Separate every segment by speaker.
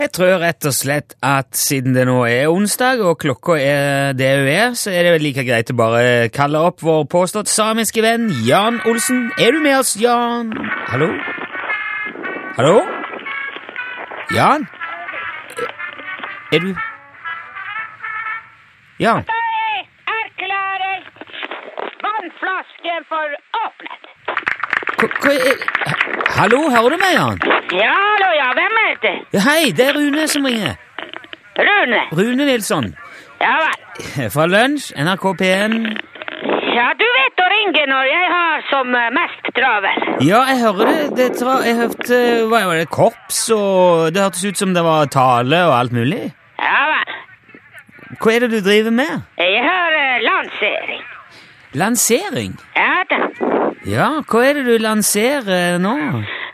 Speaker 1: Jeg tror rett og slett at siden det nå er onsdag, og klokka er det hun er, så er det vel like greit å bare kalle opp vår påstått samiske venn Jan Olsen. Er du med oss, Jan? Hallo? Hallo? Jan? Er du Jan?
Speaker 2: Jeg erklærer vannflasken for åpnet.
Speaker 1: Hva, hva er Hallo, hører du meg, Jan?
Speaker 2: Ja, hallo, ja. Hvem er det?
Speaker 1: Ja, hei, det er Rune som ringer.
Speaker 2: Rune.
Speaker 1: Rune Nilsson.
Speaker 2: Ja vel.
Speaker 1: Fra Lunsj, NRK P1.
Speaker 2: Ja, du vet å ringe når jeg har som eh, mest travel.
Speaker 1: Ja, jeg hører det. det tra jeg hørte eh, hva var det, korps, og det hørtes ut som det var tale og alt mulig.
Speaker 2: Ja vel.
Speaker 1: Hva er det du driver med?
Speaker 2: Jeg har eh, lansering.
Speaker 1: Lansering?
Speaker 2: Ja da.
Speaker 1: Ja, hva er det du lanserer nå?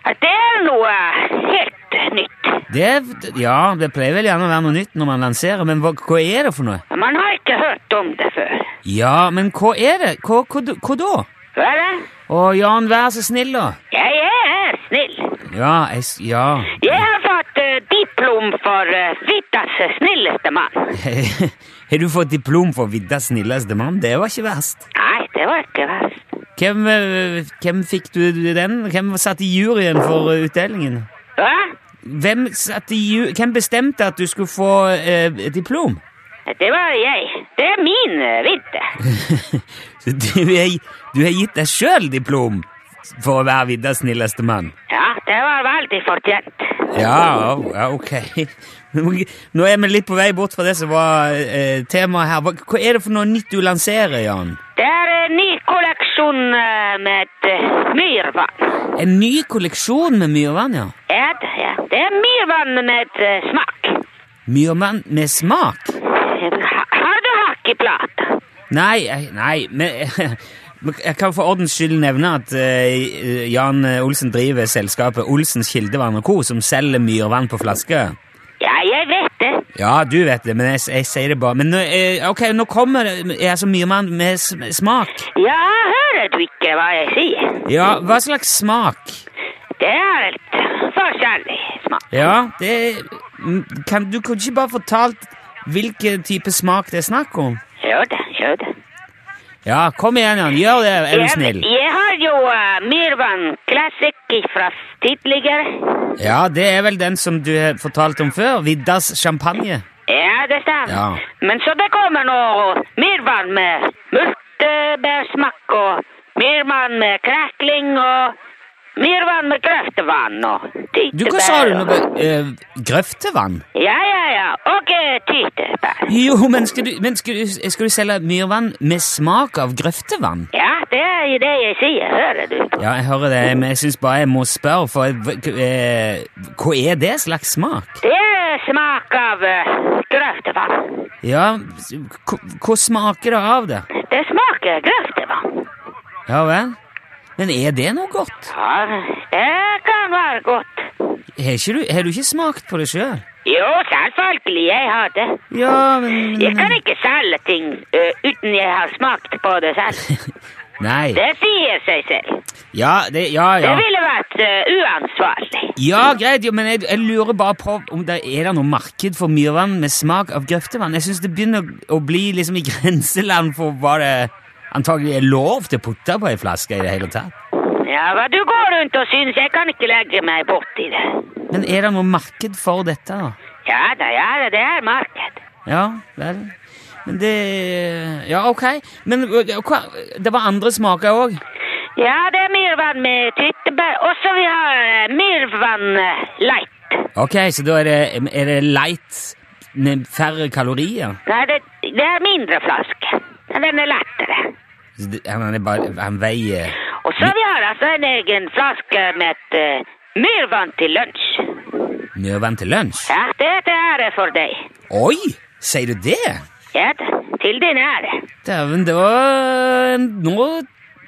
Speaker 2: Det er noe helt nytt.
Speaker 1: Det er, ja, det pleier vel gjerne å være noe nytt når man lanserer, men hva, hva er det for noe?
Speaker 2: Man har ikke hørt om det før.
Speaker 1: Ja, men hva er det? Hva, hva, d- hva da?
Speaker 2: Hva er det?
Speaker 1: Å, Jan, vær så snill, da.
Speaker 2: Jeg er snill.
Speaker 1: Ja, jeg s- Ja.
Speaker 2: Jeg har fått eh, diplom for uh, Vittas snilleste mann.
Speaker 1: Har du fått diplom for Viddas snilleste mann? Det var ikke verst.
Speaker 2: Nei, det var ikke verst.
Speaker 1: Hvem, eh, hvem fikk du den? Hvem satt i juryen for eh, utdelingen?
Speaker 2: Hva?
Speaker 1: Hvem, satt i ju hvem bestemte at du skulle få eh, et diplom?
Speaker 2: Det var jeg. Det er min eh, vinter.
Speaker 1: Så du, er, du har gitt deg sjøl diplom for å være Viddas snilleste mann?
Speaker 2: Ja, det var veldig fortjent.
Speaker 1: Ja, o- ja, ok. Nå er vi litt på vei bort fra det som var eh, temaet her. Hva, hva er det for noe nytt du lanserer, Jan?
Speaker 2: Det er en ny kolleksjon eh, med eh, myrvann.
Speaker 1: En ny kolleksjon med myrvann, ja?
Speaker 2: Ja, det, ja. det er myrvann med eh, smak.
Speaker 1: Myrvann med smak?
Speaker 2: Ha- Har du hakkeplate?
Speaker 1: Nei, jeg- nei, men men jeg kan for ordens skyld nevne at eh, Jan Olsen driver selskapet Olsens Kildevann og Co., som selger myrvann på flaske.
Speaker 2: Ja, jeg vet det.
Speaker 1: Ja, du vet det, men jeg, jeg sier det bare. Men nå, eh, ok, nå kommer det er altså myrvann med sm- smak.
Speaker 2: Ja, hører du ikke hva jeg sier?
Speaker 1: Ja, hva slags smak?
Speaker 2: Det er et forskjellig smak.
Speaker 1: Ja, det mm, kan, Du kunne ikke bare fortalt hvilken type smak det er snakk om?
Speaker 2: Jo da, jo da.
Speaker 1: Ja, kom igjen, Jan. Gjør det, er du
Speaker 2: Jeg,
Speaker 1: snill.
Speaker 2: jeg har jo eh, myrvann classic fra tidligere.
Speaker 1: Ja, det er vel den som du har fortalt om før. Viddas champagne.
Speaker 2: Ja, det stemmer.
Speaker 1: Ja.
Speaker 2: Men så det kommer noe myrvann med multebærsmak og myrvann med krekling og myrvann med grøftevann og tyttebær.
Speaker 1: Du, hva sa du nå?
Speaker 2: og-
Speaker 1: Be- eh, grøftevann?
Speaker 2: Ja, ja, ja. Og eh, tyttebær.
Speaker 1: Jo, men, skal du, men skal, du, eh, skal du selge myrvann med smak av grøftevann?
Speaker 2: Ja, det er jo det jeg sier, hører du.
Speaker 1: Ja, jeg hører det, men jeg syns bare jeg må spørre, for hva- eh, hva er det slags smak?
Speaker 2: Det er smak av eh, grøftevann.
Speaker 1: Ja, s- hva hva smaker det av det?
Speaker 2: Det smaker grøftevann.
Speaker 1: Ja vel? Men er det noe godt?
Speaker 2: Ja, det kan være godt.
Speaker 1: Har, ikke du, har du ikke smakt på det sjøl?
Speaker 2: Jo, selvfølgelig, jeg har det.
Speaker 1: Ja, men
Speaker 2: Jeg kan ikke selge ting eh, uten jeg har smakt på det selv.
Speaker 1: Nei.
Speaker 2: Det sier seg selv.
Speaker 1: Ja, det, ja,
Speaker 2: Det
Speaker 1: ja.
Speaker 2: ville vært eh, uansvarlig.
Speaker 1: Ja, greit, jo, men jeg, jeg lurer bare på om det er det noe marked for myrvann med smak av grøftevann. Jeg syns det begynner å, å bli liksom i grenseland for hva det antagelig er lov til å putte på ei flaske i det hele tatt.
Speaker 2: Ja, hva du går rundt og syns, jeg kan ikke legge meg borti det.
Speaker 1: Men er det noe marked for dette, da?
Speaker 2: Ja da, ja da, det er marked.
Speaker 1: Ja, vel. Men det Ja, ok. Men ø, hva, det var andre smaker òg?
Speaker 2: Ja, det er myrvann med tyttebær. Og så vi har eh, myrvann eh, light.
Speaker 1: Ok, så da er det, er det light med færre kalorier?
Speaker 2: Nei, det, det er mindre flaske. Men den er lettere.
Speaker 1: Så det- Han er bare Han veier
Speaker 2: Og så vi har altså en egen flaske med eh, myrvann til lunsj.
Speaker 1: myrvann til lunsj?
Speaker 2: Ja, det er til ære for deg.
Speaker 1: Oi! Sier du det?
Speaker 2: Ja da, til din ære.
Speaker 1: Dæven, det var Nå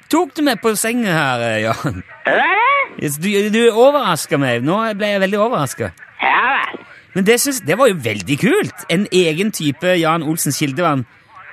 Speaker 1: tok du meg på senga her, Jan.
Speaker 2: Hva er det?
Speaker 1: Yes, Du, du overraska meg. Nå ble jeg veldig overraska.
Speaker 2: Ja vel.
Speaker 1: Men det, syns- det var jo veldig kult! En egen type Jan Olsens kildevann.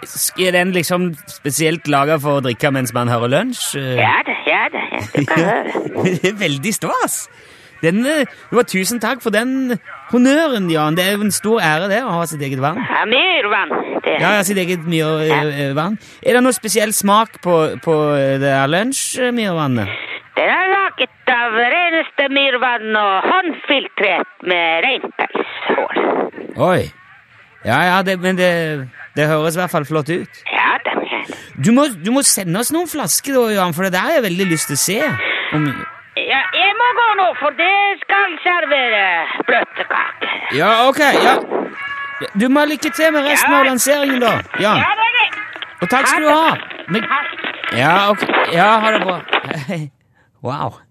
Speaker 1: Sk- Er den liksom spesielt laga for å drikke mens man hører lunsj?
Speaker 2: Ja da, ja da. Ja, du kan høre.
Speaker 1: det er veldig stas! Det- Den, eh, det var tusen takk for den honnøren, Jan. Det er jo en stor ære det, å ha sitt eget vann.
Speaker 2: Ja, Myrvann. Det.
Speaker 1: Ja, ja, sitt eget myrvann. eh, Er det noe spesiell smak på, på eh, det her lunsjmyrvannet?
Speaker 2: Den er laget av reneste myrvann og håndfiltrert med reinpelshår.
Speaker 1: Oi. Ja, ja, det, men det, det høres i hvert fall flott ut.
Speaker 2: Ja da.
Speaker 1: Du må, du må sende oss noen flasker, da, Johan, for det der har jeg veldig lyst til å se. Om,
Speaker 2: Ja, jeg må gå nå, for det skal servere bløtkake.
Speaker 1: ja, ok. ja. Du må ha lykke til med resten av
Speaker 2: Ja.
Speaker 1: lanseringen, da. Jan.
Speaker 2: Ja, det er det.
Speaker 1: Og takk skal du ha. Men,
Speaker 2: Ha det.
Speaker 1: ja, ok. Ja, ha det bra. Hei. Wow.